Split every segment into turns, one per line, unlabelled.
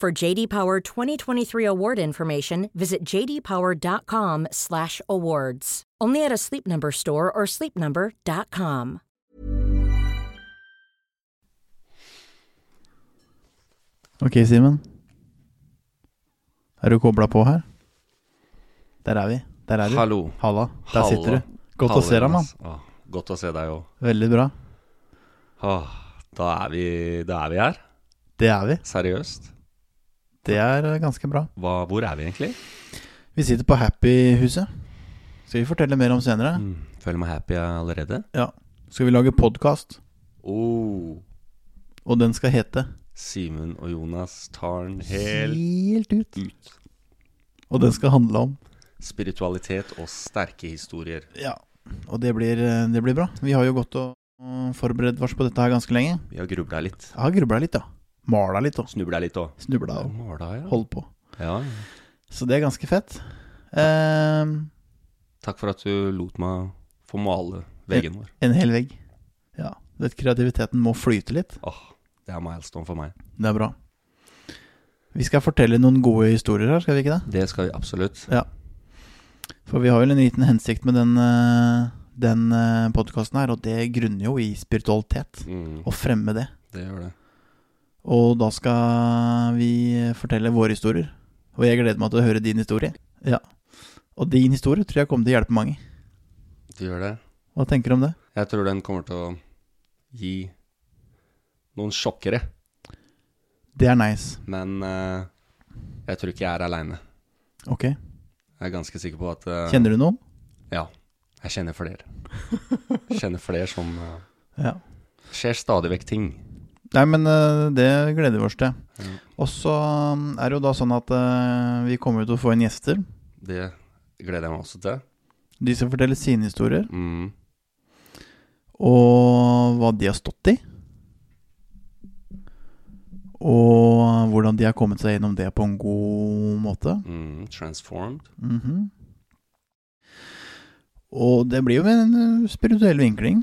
For JD Power 2023 award information, visit jdpower.com/awards. Only at a Sleep Number store or sleepnumber.com.
Ok, Simen. Er du kobla på her? Der er vi. Der er du.
Hallo.
Halla. Der
Halla.
sitter du. Godt å
Hallo,
se deg, mann.
Jonas. Åh, Godt å se deg òg.
Veldig bra.
Da, er vi- da er vi her.
Det er vi.
Seriøst.
Det er eh, ganske bra.
Hva, hvor er vi egentlig?
Vi sitter på Happy-huset. Skal vi fortelle mer om senere?
Mm, føler meg happy allerede.
Ja. Skal vi lage podkast,
Oh,
og den skal hete
Simen og Jonas tar den helt
Helt ut.
ut.
Og den skal handle om
Spiritualitet og sterke historier.
Ja. Og det blir, eh, det blir bra. Vi har jo gått og og forberedt oss på dette her ganske lenge.
Vi har grubla litt.
Jeg har grubla litt, ja. Mala litt og
Snubla litt òg.
snubla og
Måla, ja.
holdt på.
ja.
Så det er ganske fett. Eh,
Takk for at du lot meg få male veggen vår.
en hel vegg. Ja. Det, kreativiteten må flyte litt.
Åh, det er milestone for meg.
Det er bra. Vi skal fortelle noen gode historier her, skal vi ikke det?
Det skal vi absolutt.
For vi har vel en liten hensikt med den, eh, den podkasten her, og det grunner jo i spiritualitet.
Mm,
Å fremme det.
det gjør det.
Og da skal vi fortelle våre historier. Og jeg gleder meg til å høre din historie. Ja. Og din historie tror jeg kommer til å hjelpe mange.
Det gjør det.
Hva tenker du om det?
Jeg tror den kommer til å gi noen sjokkere,
Det er nice.
men eh, jeg tror ikke jeg er aleine.
Ok.
Jeg er ganske sikker på at eh,
Kjenner du noen?
Ja, jeg kjenner flere. kjenner flere som eh,
Ja.
skjer stadig vekk ting.
Nei, men eh, det gleder vi oss til.
Ja.
Og så mm, er det jo da sånn at eh, vi kommer jo til å få inn gjester.
Det gleder jeg meg også til.
De skal fortelle sine historier,
Mm.
og hva de har stått i. Og hvordan de har kommet seg gjennom det på en god måte.
Mm. Transformed.
Mhm. Og det blir jo en eh, spirituell vinkling.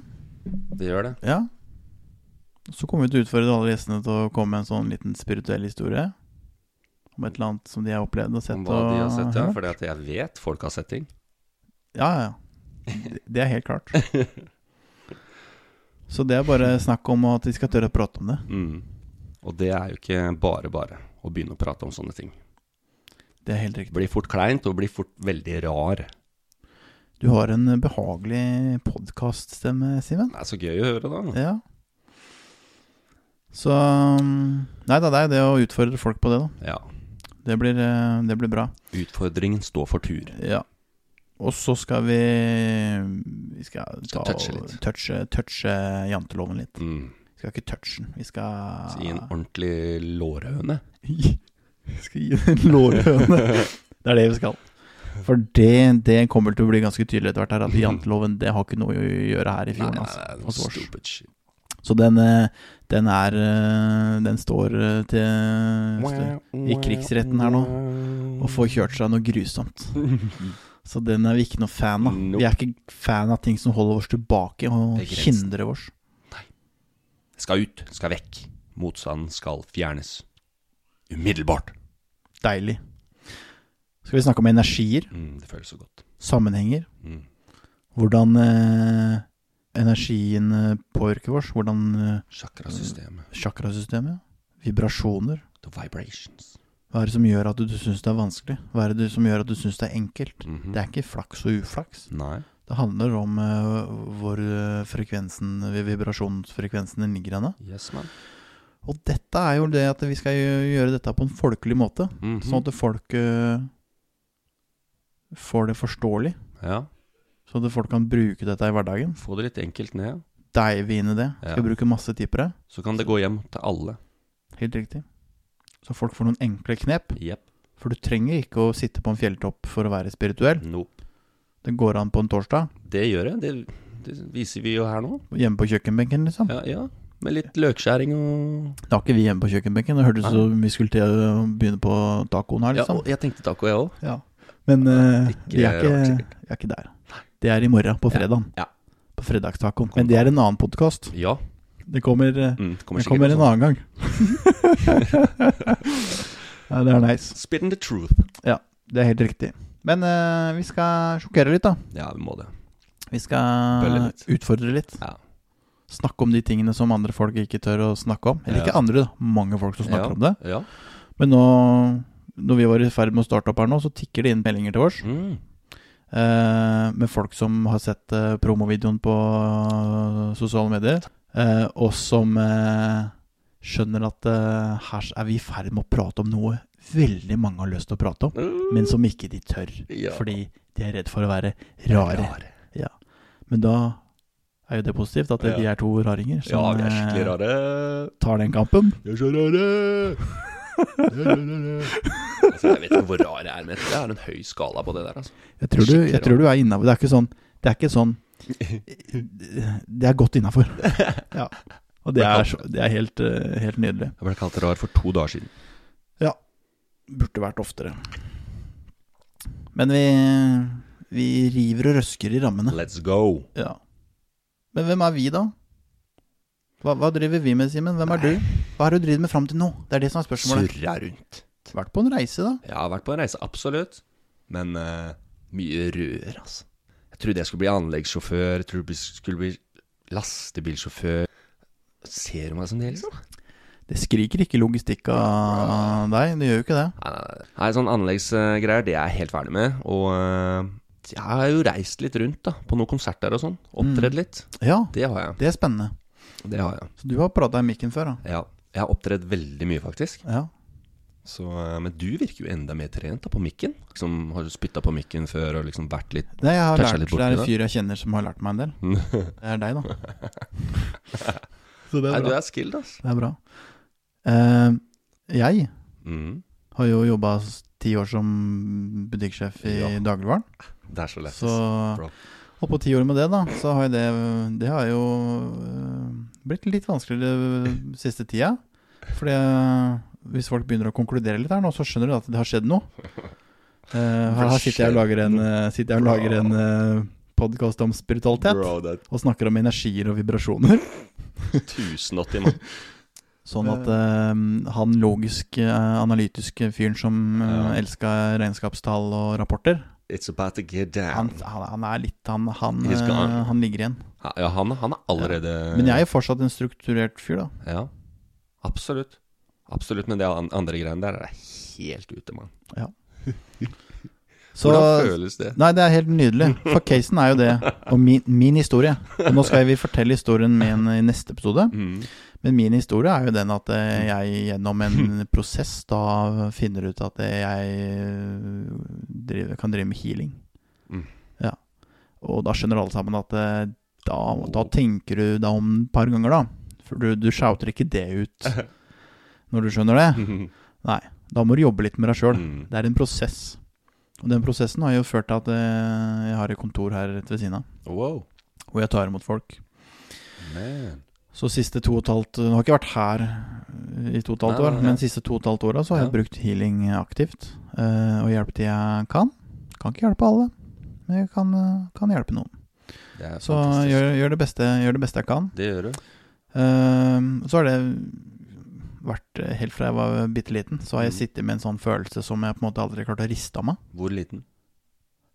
Det gjør det.
Ja. Så kommer vi til å utfordre alle gjestene til å komme med en sånn liten spirituell historie. Om et eller annet som de har opplevd og sett.
Om hva
og
de har sett. Ja,
hørt.
fordi at jeg vet folk har sett ting.
Ja, ja, ja. Det- Det er helt klart. Så det er bare snakk om at vi skal tørre å prate om det.
Mm. Og det er jo ikke bare bare å begynne å prate om sånne ting.
Det er helt
Det
riktig.
blir fort kleint og blir fort veldig rar.
Du har en behagelig podkaststemme, Simen.
Det er så gøy å høre, da.
Ja. Så um, Nei da, det er det å utfordre folk på det, da.
Ja.
Det blir, eh, det blir bra.
Utfordringen står for tur.
Ja. Og så skal vi Vi skal ta
Skal touche
og
litt.
touche, touche janteloven litt.
Mm.
Vi skal ikke touche den, vi skal
Så I en ordentlig lårhøne.
skal gi den en lårhøne. Det er det vi skal. For det, det kommer til å bli ganske tydelig etter hvert her, at janteloven det har ikke noe å gjøre her i
Nei,
fjorden.
nei,
Altså,
nei, noe
hos oss.
stupid shit.
Så den, eh, den er eh, Den står eh, til stø- i krigsretten her nå og får kjørt seg noe grusomt. Så den er vi ikke noe fan av. Vi er ikke fan av ting som holder oss tilbake og
Begrenset.
hindrer oss.
Skal ut, skal vekk. Motstanden skal fjernes. Umiddelbart.
Deilig. Skal vi snakke om energier,
Mm, det føles så godt.
sammenhenger?
Mm.
Hvordan eh, energien eh, påvirker oss? Hvordan eh,
Chakrasystemet.
chakrasystemet? Vibrasjoner?
The vibrations.
Hva er det som gjør at du, du syns det er vanskelig? Hva er det du- som gjør at du syns det er enkelt?
Mhm.
Det er ikke flaks og uflaks.
Nei.
Det handler om eh, hvor eh, frekvensen, vibrasjonsfrekvensen din ligger henne.
Yes, man.
Og dette er jo det at vi skal gjø- gjøre dette på en folkelig måte.
Mhm.
Sånn at folk eh, får det forståelig.
Ja.
Sånn at folk kan bruke dette i hverdagen.
Få det litt enkelt ned,
Deive inn i det. Skal
Ja.
bruke masse tid på det.
så kan det gå hjem til alle.
Helt riktig. Så folk får noen enkle knep.
Jepp.
For du trenger ikke å sitte på en fjelltopp for å være spirituell.
Nope.
Det går an på en torsdag.
Det gjør jeg. Det, det viser vi jo her nå.
Hjemme på kjøkkenbenken, liksom.
Ja, ja. Med litt løkskjæring og
Det har ikke vi hjemme på kjøkkenbenken. Det hørtes ut
Nei.
som vi skulle til å begynne på tacoen her,
Ja,
liksom.
og jeg tenkte taco, jeg òg.
Ja. Men eh,
Ikke
vi, er
rart,
ikke,
sikkert.
vi er ikke der. Det er i morgen, på
Ja,
fredag.
ja.
På fredagstacoen. Men det er en annen podkast.
Ja.
Det kommer, eh,
Mm, det kommer
det
sikkert
kommer en
også.
annen gang. Nei, det er nice.
Spitting the truth.
Det er helt riktig. Men eh, vi skal sjokkere litt, da.
Ja, vi må det.
Vi
Bølle
skal
litt.
utfordre litt.
Ja.
Snakke om de tingene som andre folk ikke tør å snakke om. Eller
Ja.
ikke andre, da. mange folk som snakker
ja.
om det.
Ja.
Men nå, når vi var i ferd med å starte opp her nå, så tikker det inn meldinger til oss.
Mm.
eh, med folk som har sett eh, promovideoen på eh, sosiale medier, eh, og som eh, skjønner at eh, her er vi i ferd med å prate om noe veldig mange har lyst til å prate om,
Mm.
men som ikke de tør,
Ja.
fordi de er redd for å være rare.
Rare.
Men da er jo det positivt at
Ja.
de er to raringer
Ja,
som
vi er skikkelig
eh,
rare.
tar den kampen.
Vi er så rare. Vi er rare. altså, jeg vet ikke hvor rar jeg er, men jeg tror jeg har en høy skala på det der. Altså.
Jeg tror du, jeg
Skikkelig
tror du er innafor. Det er ikke sånn Det er ikke sånn Det er godt innafor. Ja. Og det er, så- det er helt, eh, helt nydelig.
Jeg ble kalt rar for to dager siden.
Burde vært oftere. Men vi, vi river og røsker i rammene.
Let's go.
Ja. Men hvem er vi, da? Hva, hva driver vi med, Simen? Hvem er du? Hva har du drevet med fram til nå? Det er det som er spørsmålet.
Surra rundt.
Vært på en reise, da.
Jeg har vært på en reise, absolutt. Men eh, mye rør, altså. Jeg trodde jeg skulle bli anleggssjåfør, jeg trodde jeg skulle bli lastebilsjåfør. Ser du meg som det, liksom?
Det skriker ikke logistikk av deg. Det gjør jo ikke det.
Nei, nei, nei. nei sånn anleggsgreier, det er jeg helt ferdig med. Og eh, jeg har jo reist litt rundt, da. På noen konserter og sånn. Opptredd
Mm.
litt.
Ja,
Det har jeg.
det er spennende.
Det har jeg.
Så du har prata i mikken før, da.
Ja. Jeg har opptredd veldig mye, faktisk.
Ja.
Så, eh, men du virker jo enda mer trent da, på mikken. Liksom, har du spytta på mikken før og liksom vært litt
Nei, jeg har
Toucha
lært,
litt
det
borti
er en
det. Mm.
fyr jeg kjenner som har lært meg en del. Det er deg, da. Så det
Nei,
er
du
bra.
er skilled, altså.
Det er bra. Eh, jeg
Mm.
har jo jobba ti år som butikksjef i
Ja.
dagligvaren.
Det er så lett.
Så,
bra.
og på ti år med det, da, så har jo det Det har jo eh, blitt litt vanskeligere den siste tida. Fordi eh, hvis folk begynner å konkludere litt her nå, så skjønner du at det har skjedd noe. Eh, her sitter jeg og lager en, eh, sitter jeg og lager en eh, podkast om spiritualitet.
Bro, det
og snakker om energier og vibrasjoner.
er 1080, mann.
Sånn at eh, han logiske, eh, analytiske fyren som uh,
Ja.
elska regnskapstall og rapporter,
It's about to get
han,
down.
han, han er litt han, han,
He's
eh,
gone.
han ligger igjen.
Ha- Ja, han, han er allerede
Men jeg er jo fortsatt en strukturert fyr, da.
Ja, absolutt. Absolutt, men det an- andre greiene der er helt ute, mann.
Så
Hvordan føles det?
Nei, det er helt nydelig. For casen er jo det, og min, min historie. Og nå skal vi fortelle historien min i neste episode.
Mm.
Men min historie er jo den at eh, jeg gjennom en prosess da finner ut at eh, jeg eh, driver, kan drive med healing.
Mm.
Ja. Og da skjønner alle sammen at eh, da, da tenker du deg om et par ganger, da. For du, du shouter ikke det ut når du skjønner det. Nei. Da må du jobbe litt med deg sjøl.
Mm.
Det er en prosess. Og den prosessen har jo ført til at eh, jeg har et kontor her rett ved siden av,
Wow.
hvor jeg tar imot folk.
Man.
eh, Så siste to og et halvt Nå har jeg ikke vært her eh, i to og et halvt
Nei,
år.
nei, nei.
Men de siste to og et halvt åra så har
Ja.
jeg brukt healing aktivt. eh, og hjulpet de jeg kan. Kan ikke hjelpe alle, men jeg kan, eh, kan hjelpe noen.
Det er
Så
fantastisk.
gjør, gjør, det beste, gjør det beste jeg kan.
Det gjør du.
Eh, så har det vært eh, helt fra jeg var bitte liten, så har jeg
Mm.
sittet med en sånn følelse som jeg på en måte aldri klarte å riste av meg.
Hvor liten?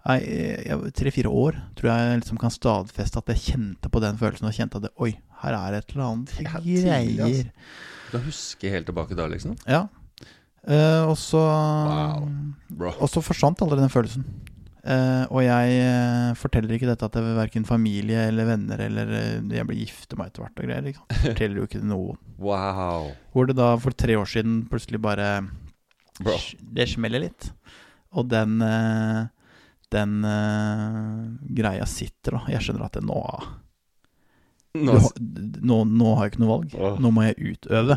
Nei, jeg- jeg- Tre-fire år tror jeg liksom kan stadfeste at jeg kjente på den følelsen. Og kjente at det, oi, her er det et eller annet
Det er tidlig,
greier.
altså. Du kan huske helt tilbake da, liksom?
Ja. Eh, og så
Wow. Bro.
Og så forsvant aldri den følelsen. Eh, og jeg eh, forteller ikke dette til verken familie eller venner eller eh, Jeg blir gifte meg etter hvert og greier. Ikke sant? Forteller jo ikke det noen.
Wow.
Hvor det da for tre år siden plutselig bare
Bro.
Det smeller litt. Og den eh, den eh, greia sitter, da. Jeg skjønner at det nå
Nå,
du,
altså.
har- nå, nå har jeg ikke noe valg.
Åh.
Nå må jeg utøve.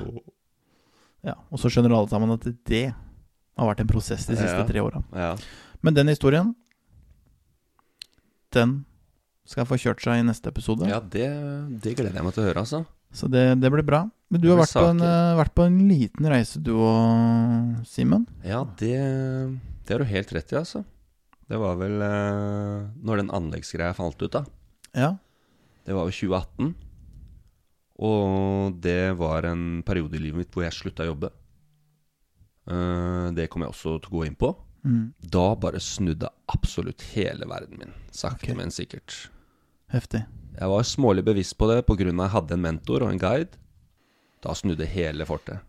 Ja, og så skjønner alle sammen at det har vært en prosess de siste
Ja.
tre åra.
ja.
Men den historien, den skal få kjørt seg i neste episode.
ja, det, det gleder jeg meg til å høre, altså.
Så det, det blir bra. Men du
Det
har
blir
vært på, en,
saker.
eh, vært på en liten reise, du og Simen.
Ja, det, det har du helt rett i, altså. Det var vel eh, når den anleggsgreia falt ut, da.
Ja.
Det var jo 2018. Og det var en periode i livet mitt hvor jeg slutta å jobbe. Eh, det kommer jeg også til å gå inn på.
Mm.
Da bare snudde absolutt hele verden min, sakte,
Ok.
men sikkert.
Heftig.
Jeg var smålig bevisst på det pga. jeg hadde en mentor og en guide. Da snudde hele fortet.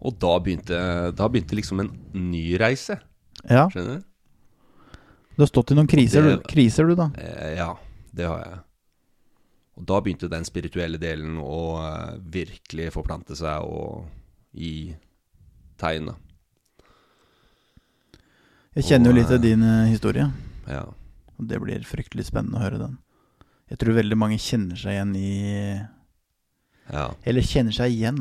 Og da begynte, da begynte liksom en ny reise.
Ja,
Skjønner du?
du har stått i noen kriser,
Det-
du, kriser du da.
Eh, ja, det har jeg. Og da begynte den spirituelle delen å eh, virkelig forplante seg og gi tegn, da.
Jeg kjenner jo litt til din eh, historie,
Ja.
og det blir fryktelig spennende å høre den. Jeg tror veldig mange kjenner seg igjen i
ja.
Eller kjenner seg igjen.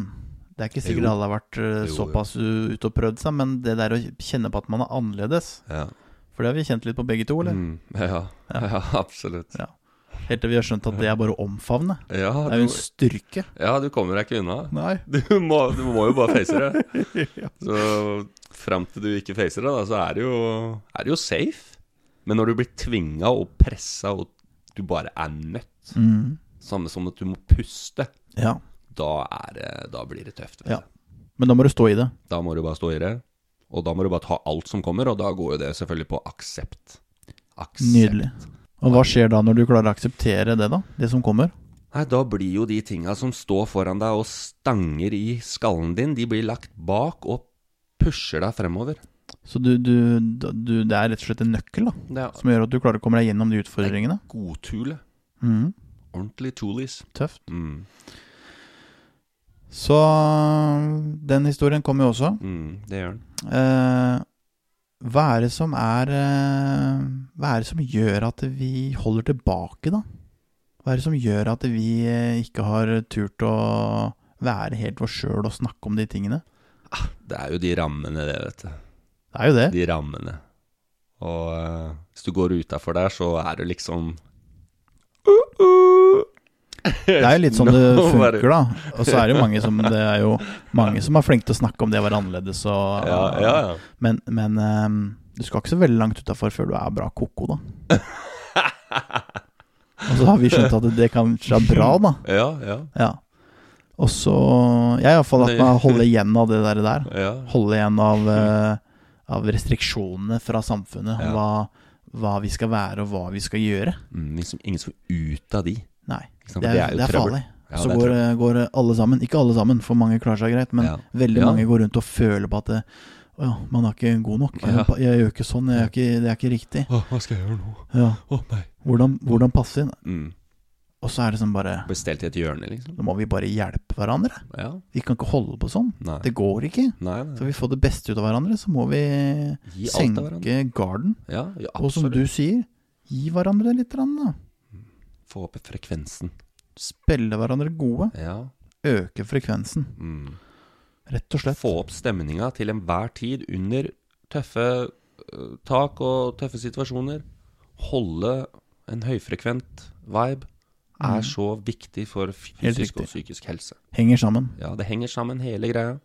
Det er ikke sikkert
Jo.
alle har vært eh,
Jo, jo.
såpass u- ute og prøvd seg, men det der å kjenne på at man er annerledes
ja.
For det har vi kjent litt på begge to, eller?
Mm, ja. ja, absolutt.
Helt til vi har skjønt at det er bare å omfavne.
Ja
Det er
du,
jo en styrke.
ja, du kommer deg ikke unna.
Nei.
Du må, du må jo bare face det. Så fram til du ikke facer det, da, så er det jo, er det jo safe. Men når du blir tvinga og pressa og du bare er nødt,
Mm.
samme som at du må puste,
Ja.
da, er det, da blir det tøft. vet
ja.
du.
Men da må du stå i det.
Da må du bare stå i det, og da må du bare ta alt som kommer, og da går jo det selvfølgelig på aksept. Aksept.
Nydelig. Og hva skjer da når du klarer å akseptere det, da? Det som kommer?
Nei, da blir jo de tinga som står foran deg og stanger i skallen din, de blir lagt bak og pusher deg fremover.
Så du, du, da- du Det er rett og slett en nøkkel, da,
Det er
som gjør at du klarer å komme deg gjennom de utfordringene?
godtule.
Mm.
Ordentlig toolies.
Tøft.
Mm.
Så den historien kommer jo også.
Mm, det gjør den.
Eh, hva er det som er eh, Hva er det som gjør at vi holder tilbake, da? Hva er det som gjør at vi eh, ikke har turt å være helt oss sjøl og snakke om de tingene?
Det er jo de rammene, det, vet du.
Det er jo det.
De rammene. Og eh, hvis du går utafor der, så er det liksom
Det er jo litt sånn
Nå
det
var det-
funker, da. Og så er det jo mange som Det er jo mange som er flinke til å snakke om det å være annerledes og
Ja, ja, ja.
Men, men eh, du skal ikke så veldig langt utafor før du er bra ko-ko, da. Og så har vi skjønt at det kanskje er bra, da.
Ja, ja.
Ja. Og så Jeg har iallfall latt meg holde igjen av det der. der.
ja.
Holde igjen av, eh, av restriksjonene fra samfunnet.
Ja.
Hva, hva vi skal være, og hva vi skal gjøre.
Mm, liksom, ingen som er ut av de.
Nei,
Ikke sant?
det er, det er
trøbbel.
farlig.
Ja,
så
det er
går, eh,
trøbbel.
går alle sammen. Ikke alle sammen, for mange klarer seg greit. Men
Ja.
veldig
Ja.
mange går rundt og føler på at det, å ja, man er ikke god nok.
Ja.
Jeg, jeg gjør ikke sånn. Jeg gjør ikke, det er ikke riktig.
Å, hva skal jeg gjøre nå?
Ja.
Å, nei.
Hvordan, hvordan passe inn?
Mm.
Og så er det sånn bare
Bestelt i et hjørne, liksom.
Nå må vi bare hjelpe hverandre.
Ja.
Vi kan ikke holde på sånn.
Nei.
Det går ikke.
nei, nei.
Skal vi få det beste ut av hverandre, så må vi
Gi alt av hverandre.
senke garden.
Ja, ja
Og som
absolutt.
du sier, gi hverandre litt, grann, da.
Få opp frekvensen.
Spille hverandre gode.
Ja.
Øke frekvensen,
Mm.
rett og slett.
Få opp stemninga til enhver tid under tøffe øh, tak og tøffe situasjoner. Holde en høyfrekvent vibe. er så viktig for
Mm. Helt
fysisk og psykisk helse.
Henger sammen.
Ja, det henger sammen, hele greia.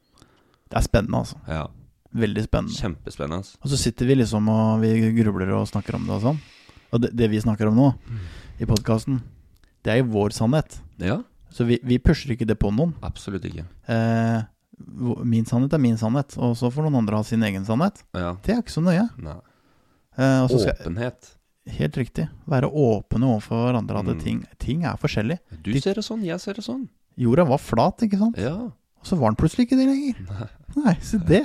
Det er spennende, altså.
Ja,
Veldig spennende.
Kjempespennende. ass.
Og så sitter vi liksom og vi grubler og snakker om det og sånn. Og det, det vi snakker om nå,
Mm.
i podkasten, det er jo vår sannhet.
Ja,
Så vi, vi pusher ikke det på noen.
absolutt ikke.
Eh, hvor- min sannhet er min sannhet, og så får noen andre ha sin egen sannhet.
Ja,
Det er ikke så nøye.
nei.
Eh, og så skal
Åpenhet.
Helt riktig. Være åpne overfor hverandre. At
Mm.
ting, ting er forskjellig.
Du
De-
ser det sånn, jeg ser det sånn.
Jorda var flat, ikke sant?
Ja.
Og så var den plutselig ikke det lenger. Nei, se det.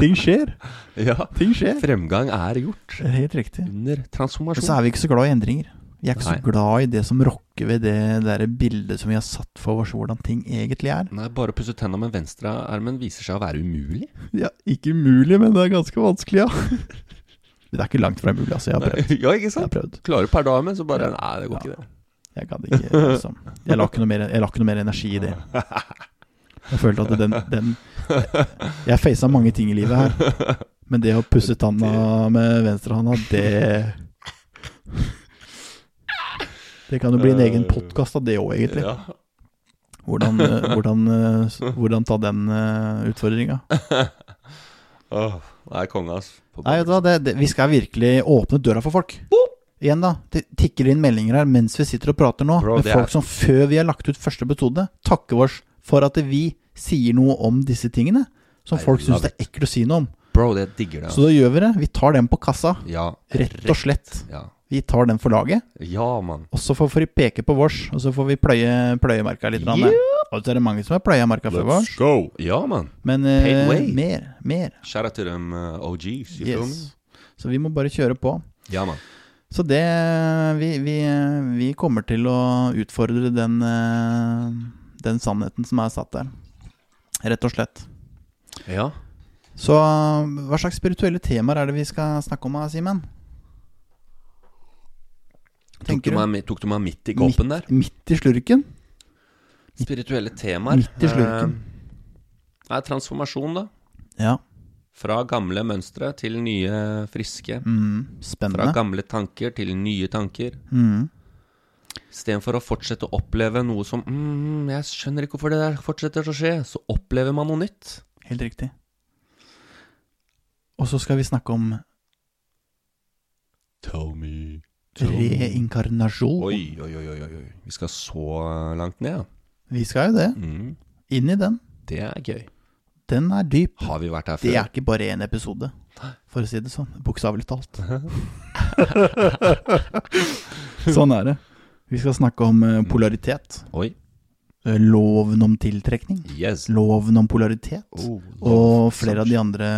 Ting skjer.
ja.
Ting skjer.
Fremgang er gjort
Helt riktig.
under
Og så
transformasjon.
er vi ikke så glad i endringer. Vi er ikke
Nei.
så glad i det som rokker ved det der bildet som vi har satt for oss hvordan ting egentlig er.
Nei, bare å pusse tenna med venstrearmen viser seg å være umulig.
Ja, ikke umulig, men det er ganske vanskelig, ja. Men det er ikke langt fra mulig, altså. Jeg har prøvd.
ja,
Jeg
ikke
har
sant?
prøvd.
Klarer per dag, men så bare Nei, det går
Ja.
ikke, det.
Jeg gadd ikke, liksom. Jeg la ikke noe mer, jeg la ikke noe mer energi i det. Jeg følte at den, den Jeg facet mange ting i livet her, men det å pusse tanna med venstrehånda, det Det kan jo bli en egen podkast av det òg, egentlig.
Ja.
Hvordan, eh, hvordan, eh, s- hvordan ta den eh, utfordringa.
Åh, nei, konge, ass. På-
Nei, vet du hva, det, det, vi skal virkelig åpne døra for folk. Igjen, da. Det tikker inn meldinger her mens vi sitter og prater nå.
Bro,
med
det
folk
er-
som før vi har lagt ut første episode, takker oss for at vi sier noe om disse tingene. Som
I
folk
love
syns det er ekkelt å si noe om.
Bro, det digger det. ass.
Så da gjør vi det. Vi tar den på kassa.
Ja.
Rett og slett.
Ja,
Vi tar den for laget.
ja mann.
Og så får vi peke på vårs, og så får vi pløye, pløye marka litt. grann, Og så er det mange som har pløya marka før vårs.
go! Ja, mann.
Men eh,
Pave way.
mer. Mer.
Shout out til dem eh, OGs, you feel me?
Yes. Så vi må bare kjøre på.
Ja, mann.
Så det vi, vi, vi kommer til å utfordre den, eh, den sannheten som er satt der. Rett og slett.
Ja.
Så eh, hva slags spirituelle temaer er det vi skal snakke om, eh, Simen?
Tok du,
Tenker du?
meg, tok du meg midt i koppen der?
Midt i slurken?
Spirituelle temaer.
Midt i slurken.
Eh, Nei, transformasjon, da.
Ja.
Fra gamle mønstre til nye friske.
Mm,
Fra
spennende.
gamle tanker til nye tanker.
Mm.
Istedenfor å fortsette å oppleve noe som mm, 'Jeg skjønner ikke hvorfor det der fortsetter å skje', så opplever man noe nytt.
Helt riktig. Og så skal vi snakke om
Tell me.
reinkarnasjon.
Oi, oi, oi, oi, oi. oi. Vi skal så langt ned, ja.
Vi skal jo det.
Mm,
Inn i den.
det er gøy.
Den er dyp.
Har vi vært her
Det
før?
er ikke bare én episode, for å si det sånn. Bokstavelig talt. sånn er det. Vi skal snakke om eh, polaritet.
Oi.
eh, Loven om tiltrekning.
Yes.
Loven om polaritet.
Oh,
Og flere av de andre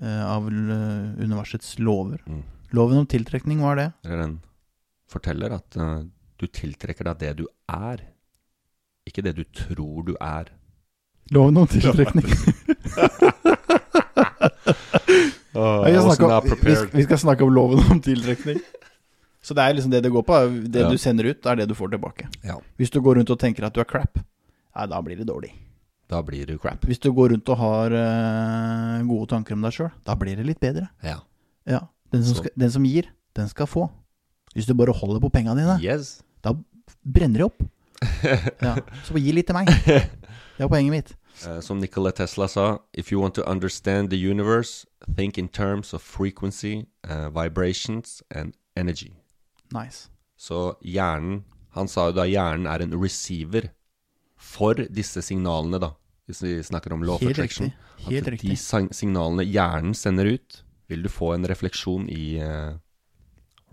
eh, av eh, universets lover.
Mm.
Loven om tiltrekning, hva er det?
Eller den forteller at eh, du tiltrekker deg det du er, ikke det du tror du er.
Loven om tiltrekning. Ja, vi, skal snakke om, vi, sk- vi skal snakke om loven om tiltrekning. Så det er liksom det det går på. er Det
Ja.
du sender ut, er det du får tilbake.
Ja.
Hvis du går rundt og tenker at du er crap, nei, da blir det dårlig.
Da blir du crap.
Hvis du går rundt og har eh, gode tanker om deg sjøl, da blir det litt bedre.
Ja.
Ja. Den, som
Så-
skal, den som gir, den skal få. Hvis du bare holder på penga dine,
Yes.
da brenner de opp. Ja. Så bare gi litt til meg. Det er poenget mitt.
Eh, som Nikola Tesla sa, if you want to understand the universe, think in terms of frequency, eh, vibrations and energy.
Nice.
Så hjernen Han sa jo da hjernen er en receiver for disse signalene, da. Hvis vi snakker om law of
Helt
attraction.
riktig. Helt
at de
riktig.
sang- signalene hjernen sender ut, vil du få en refleksjon i eh,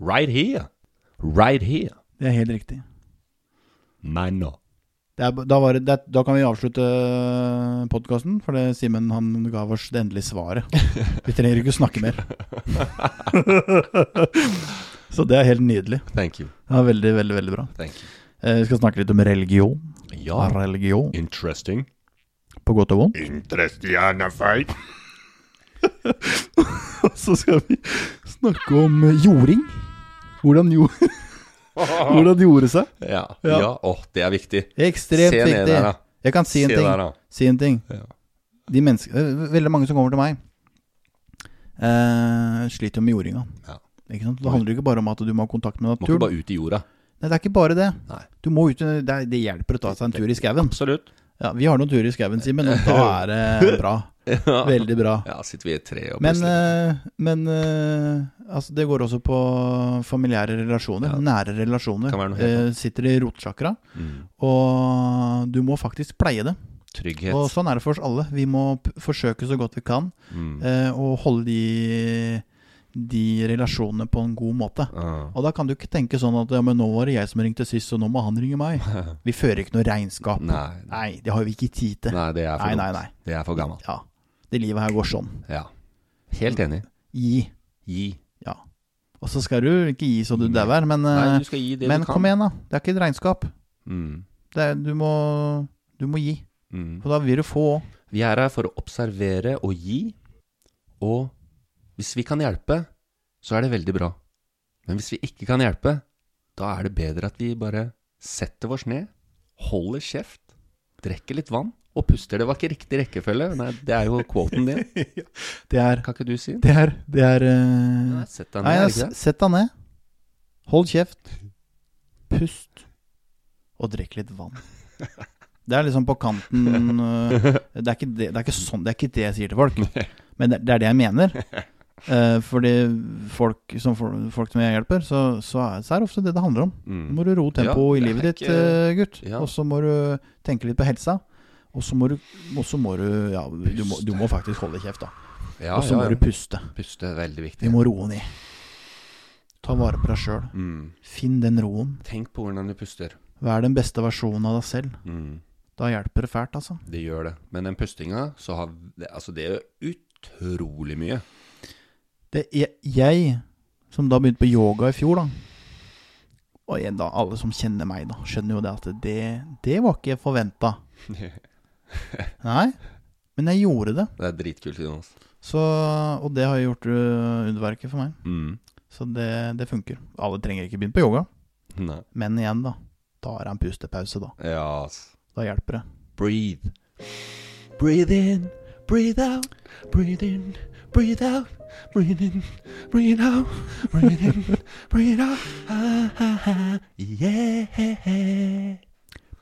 Right here. Right here.
Det er helt riktig.
Nei, nå.
Det er, da, var det, det, er- da kan vi avslutte podkasten, for det Simen han ga oss det endelige svaret. Vi trenger ikke å snakke mer. Så det er helt nydelig.
Thank you.
Ja, Veldig, veldig veldig bra.
Thank you.
Eh, vi skal snakke litt om religion. Ah,
Ja.
Religion
Interesting.
på godt og vondt.
Interestiana fight.
Så skal vi snakke om eh, jording. Hvordan, jo, hvordan jorde seg.
Ja.
Ja.
ja. Åh, det er viktig.
Ekstremt
Se ned
viktig.
der, da.
Jeg kan si en
Se
ting.
der, da.
Si en ting.
Ja.
De menneske, øh, veldig mange som kommer til meg, eh, sliter jo med jordinga.
Ja.
Ikke sant? Det handler jo ikke bare om at du må ha kontakt med
Må ikke
naturen.
bare ut i jorda.
Nei, det er ikke bare det.
Nei.
Du må ut, det, er- det hjelper å ta seg en tur i skauen.
Absolutt.
Ja, vi har noen turer i skauen, Simen, og da er det bra.
Ja.
Veldig bra.
Ja, sitter vi i et tre og
Men,
plutselig
eh, men eh, altså, det går også på familiære relasjoner.
Ja.
Nære relasjoner.
Kan være noe
Eh,
helt
sitter i rotsjakra,
mm.
og du må faktisk pleie det.
Trygghet.
Og sånn er det for oss alle. Vi må p forsøke så godt vi kan
mm.
eh, å holde de, de relasjonene på en god måte.
Ah.
Og da kan du ikke tenke sånn at ja, men nå var det jeg som ringte sist, så nå må han ringe meg. Vi fører ikke noe regnskap.
Nei.
Nei, det har vi ikke tid til.
Nei, det er for
Nei, nei,
dumt.
nei.
Det er for gammelt.
Ja. Det livet her går sånn.
Ja. Helt enig.
Gi.
Gi.
Ja. Og så skal du ikke gi så du dauer, men,
Mm. Nei,
eh,
du skal gi det
men
du kan.
kom igjen, da. Det er ikke et regnskap.
Mm.
Det er, du, må, du må gi.
Mm.
For da vil du få òg.
Vi er her for å observere og gi, og hvis vi kan hjelpe, så er det veldig bra. Men hvis vi ikke kan hjelpe, da er det bedre at vi bare setter oss ned, holder kjeft, drikker litt vann og puster. Det var ikke riktig rekkefølge, nei, det er jo quoten din.
Det er
Kan ikke du si den?
Det er, det er eh,
Nei, Sett deg
Nei,
ned, er det
s-
ikke det?
sett deg ned. Hold kjeft. Pust. Og drikk litt vann. Det er liksom på kanten øh, Det er ikke det, det, er ikke sånn, det er ikke det jeg sier til folk, men det, det er det jeg mener. Eh, Fordi folk som, fol- folk som jeg hjelper, så, så, er, så er det ofte det det handler om. Nå
Mm.
må du roe tempoet
Ja,
i
det
livet
er
ditt,
ikke-
eh, gutt.
Ja.
Og så må du tenke litt på helsa. Og så må du, og så må du Ja, du må, du må faktisk holde kjeft, da.
Ja,
Og så
ja,
må
ja.
du puste.
Puste er veldig
Vi
viktig.
må roe ned. Ta vare på deg sjøl.
Mm.
Finn den roen.
Tenk på hvordan du puster.
Vær den beste versjonen av deg selv.
Mm.
Da hjelper det fælt, altså.
Det gjør det. Men den pustinga, så har det- Altså, det gjør utrolig mye.
Det er jeg som da begynte på yoga i fjor, da. Og jeg, da, alle som kjenner meg, da, skjønner jo det at det, det var ikke forventa. Nei. Men jeg gjorde det.
Det er dritkult, Jonas.
Så, og det har gjort øh, underverket for meg.
Mm.
Så det, det funker. Alle trenger ikke begynne på yoga.
Nei.
Men igjen, da. Da er det en pustepause, da.
Ja, ass.
Da hjelper det.
Breathe. Breathe in, breathe out. Breathe in, breathe out. Breathe in, breathe out. Breathe in, breathe out. Ah, ah, ah. Yeah.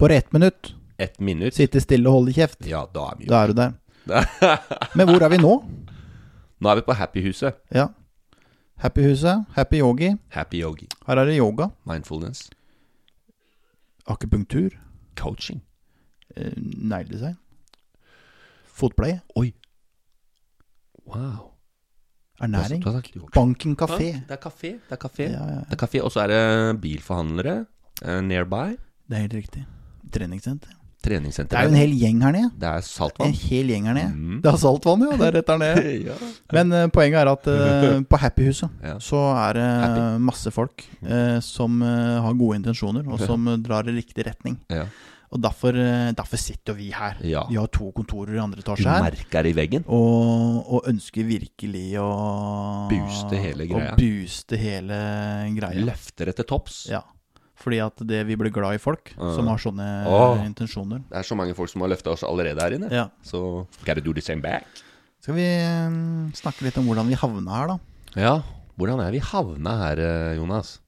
Bare ett minutt.
Ett minutt.
Sitte stille og holde kjeft.
Ja, da er vi jo
Da er du der. Men hvor er vi nå?
Nå er vi på Happyhuset.
Ja. Happyhuset, Happy Yogi.
Happy Yogi.
Her er det yoga,
Mindfulness.
akupunktur,
Coaching.
eh, negledesign, fotpleie,
Oi. Wow.
ernæring,
Du har sagt yoga.
banken kafé.
Det er kafé. Det er kafé.
Ja, ja.
Det er kafé, Og så er det bilforhandlere eh, nearby.
Det er helt riktig. Treningssenter.
Treningssenter.
Det er jo en hel gjeng her nede.
Det er
En
saltvann.
hel gjeng her nede.
Mm.
Det er saltvann, jo. Det er rett der nede.
ja.
Men eh, poenget er at eh, på Happyhuset
Ja.
så er det masse folk eh, som eh, har gode intensjoner, og som eh, drar i riktig retning.
ja.
Og derfor, eh, derfor sitter jo vi her.
Ja.
Vi har to kontorer i andre
Du
etasje her.
merker i veggen.
Og, og ønsker virkelig å
Booste hele greia.
Å booste hele greia.
Løfter etter topps.
Ja. Fordi at det vi blir glad i folk
Mm.
som har sånne
Åh.
intensjoner.
Det er så mange folk som har løfta oss allerede her inne.
Ja.
Så gotta do the same back.
Skal vi eh, snakke litt om hvordan vi havna her, da?
Ja. Hvordan er vi havna her, eh, Jonas?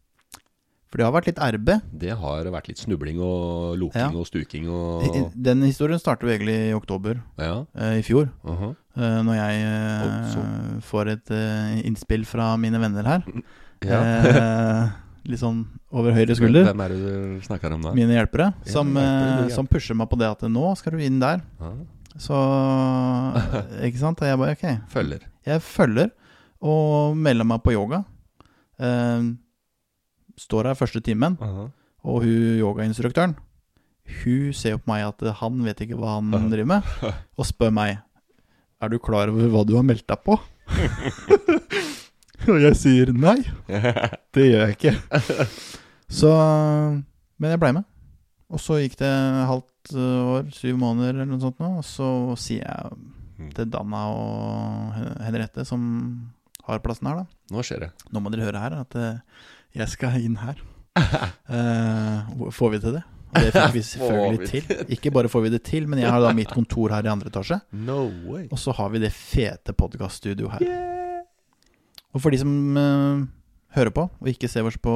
For det har vært litt RB.
Det har vært litt snubling og loking
Ja.
og stuking og
Den historien startet jo egentlig i oktober
Ja. uh-huh.
eh, i fjor.
aha.
eh, når jeg eh, får et eh, innspill fra mine venner her.
ja.
Eh, litt sånn over høyre skulder.
Hvem er det du snakker om da?
Mine hjelpere.
Ja,
Som,
hjelpere,
eh,
hjelpere.
som pusher meg på det at nå skal du inn der.
Ah,
Så Ikke sant? Og jeg bare ok.
følger.
Jeg følger og melder meg på yoga. Eh, står her første timen,
Aha.
og hun yogainstruktøren Hun ser jo på meg at han vet ikke hva han driver med, og spør meg Er du klar over hva du har meldt deg på. og jeg sier nei, det gjør jeg ikke. Så Men jeg blei med. Og så gikk det halvt eh, år, syv måneder eller noe sånt nå, og så sier jeg til Danna og Henriette, som har plassen her, da
Nå skjer det.
nå må dere høre her at eh, jeg skal inn her. Eh, hvor- får vi til det? Og det fikk vi selvfølgelig
Får vi
til. Ikke bare får vi det til, men jeg har da mitt kontor her i andre etasje.
No way.
Og så har vi det fete podcaststudio her.
Mm.
Og for de som eh, hører på og ikke ser oss på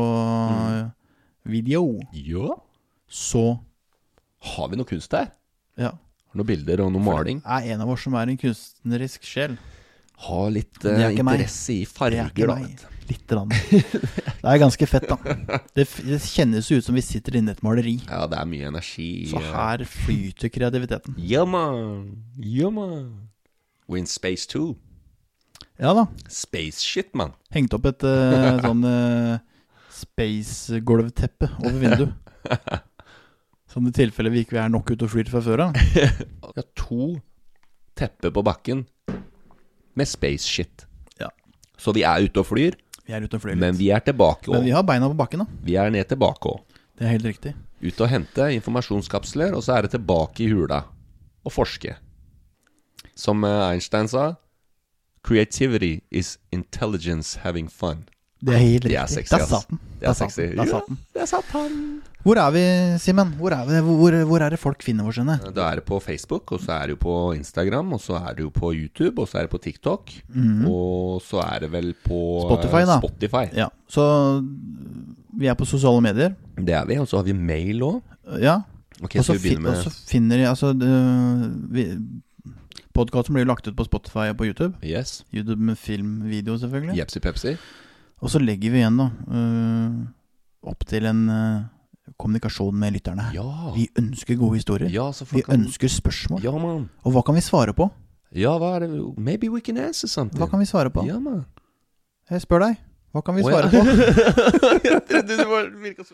video,
Ja.
så
Har vi noe kunst her?
ja.
Har noen bilder og noe maling?
er en av oss som er en kunstnerisk sjel.
Ha litt
Det er
eh,
ikke meg.
interesse i
Det er
farger,
ikke
da.
meg.
vet du.
Litt. Rann. Det er ganske fett, da. Det, f- det kjennes jo ut som vi sitter inne i et maleri.
Ja, det er mye energi.
Så
eh,
her flyter kreativiteten.
Yeah, man. Yeah, man. We're in space too.
Ja da.
Space shit, man.
Hengt opp et eh, sånn eh, space-gulvteppe over vinduet. Sånn i tilfelle vi ikke er nok ute og flyr fra før av.
Vi har to tepper på bakken med space shit.
Ja.
Så vi er ute og flyr,
Vi er ute og flyr litt.
men vi er tilbake
Men
òg.
vi har beina på bakken, da.
Vi er ned tilbake òg.
Det er helt riktig.
Ute og hente informasjonskapsler, og så er det tilbake i hula og forske. Som eh, Einstein sa Creativity is intelligence having fun.
Det er helt riktig.
Det er sexy,
Der
ass.
satt den.
Det er
Der satt
sexy.
den. Der
Ja,
satt den.
der satt han.
Hvor er vi, Simen? Hvor, er vi- hvor, hvor er det folk finner oss henne?
Da er det på Facebook, og så er det jo på Instagram, og så er det jo på YouTube, og så er det på TikTok. Og så er det vel på eh,
Mhm. Spotify, da.
Spotify.
Ja, så vi er på sosiale medier.
Det er vi. Og så har vi mail òg.
Ja.
Ok,
Og så
skal vi begynne
fin- og
med
så finner de altså, det- vi- Podkasten blir jo lagt ut på Spotify og på YouTube.
Yes.
YouTube med filmvideo, selvfølgelig.
Jepsi Pepsi.
Og så legger vi igjen da eh, opp til en eh, kommunikasjon med lytterne.
Ja.
Vi ønsker gode historier.
Ja, så
Vi
folk kan
ønsker spørsmål.
Ja, mann.
Og hva kan vi svare på?
Ja, hva er det Maybe we can answer something.
Hva kan vi svare på?
Ja, mann.
Jeg spør deg. Hva kan vi
Å,
svare
ja.
på?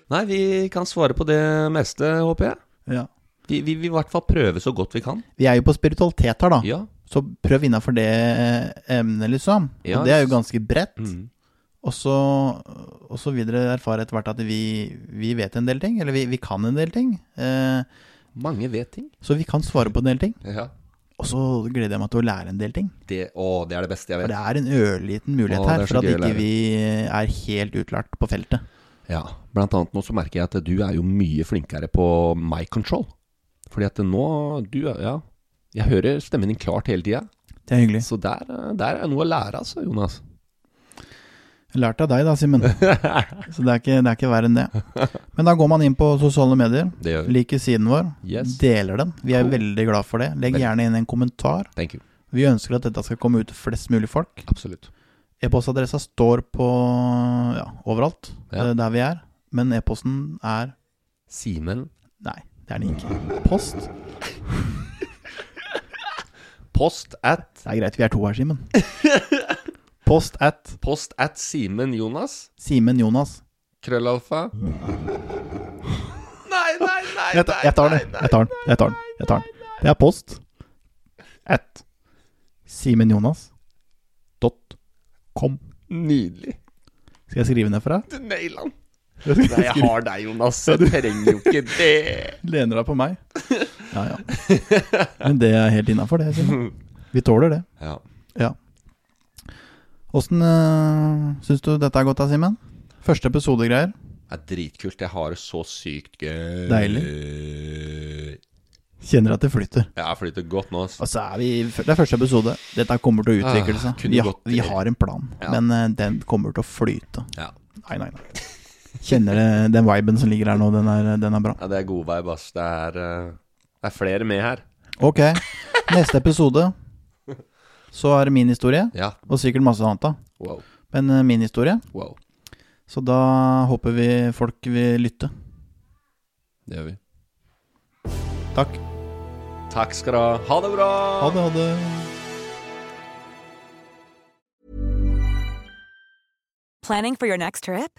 Nei, vi kan svare på det meste, håper jeg.
Ja.
Vi vi vil i hvert fall prøve så godt vi kan.
Vi er jo på spiritualitet her, da.
Ja.
Så prøv innafor det eh, emnet, liksom.
Ja.
Og det er jo ganske bredt.
Mm.
Og, så, og så vil dere erfare etter hvert at vi, vi vet en del ting, eller vi, vi kan en del ting. Eh,
Mange vet ting.
så vi kan svare på en del ting.
Ja.
Og så gleder jeg meg til å lære en del ting.
Det, å, det er det beste jeg
For
vet.
det er en ørliten mulighet
Å, det er
her
så
for at
gøy å
ikke
lære.
vi er helt utlært på feltet.
Ja, blant annet nå så merker jeg at du er jo mye flinkere på my control. Fordi at nå, du, er- ja Jeg hører stemmen din klart hele tida.
Det er hyggelig.
Så der, eh, der er noe å lære, altså, Jonas.
Jeg lærte av deg da, Simen. så det er, ikke, det er ikke verre enn det. Men da går man inn på sosiale medier.
Det gjør vi.
Liker siden vår.
Yes.
Deler den. Vi er
Cool.
veldig glad for det. Legg
Veldig.
gjerne inn en kommentar.
Thank you.
Vi ønsker at dette skal komme ut til flest mulig folk.
Absolutt.
E-postadressa står på ja, overalt
Ja.
eh, der vi er. Men e-posten er
Simen
Nei, det er den ikke. Post. Det
Post at
er greit, vi er to her, Simen. Post at
Post at Simen Jonas.
Simen Jonas.
Krøllalfa. Nei, nei, nei!
Jeg tar, jeg tar den. Jeg tar den. Jeg tar den. Jeg tar den. Det er post at simenjonas.com.
Nydelig.
Skal jeg skrive ned for deg?
Du naila den. Nei, jeg har deg, Jonas. Jeg trenger jo ikke det.
Lener deg på meg. Ja, ja. Men det er helt innafor, det. Simen. Vi tåler det.
Ja.
Ja. Åssen øh, syns du dette er godt da, Simen? Første episodegreier.
Det er dritkult. Jeg har det så sykt gøy. Deilig.
Kjenner at det flyter.
Jeg flyter godt nå. ass.
Og så er vi, Det er første episode. Dette kommer til å utvikle
Ah,
seg.
kunne
Vi,
gått-
vi har en plan,
Ja.
men øh, den kommer til å flyte.
Ja.
Nei, nei, nei. Kjenner det, den viben som ligger her nå, den er, den er bra.
ja, det er god vei, ass. Det er, eh, det er flere med her.
Ok, neste episode så er det min historie,
Ja.
og sikkert masse annet da.
Wow.
Men øh, min historie,
wow.
så da håper vi folk vil lytte.
Det gjør vi.
Takk.
Takk skal du ha. Ha det bra!
Ha det, ha det.
Planning for your next trip?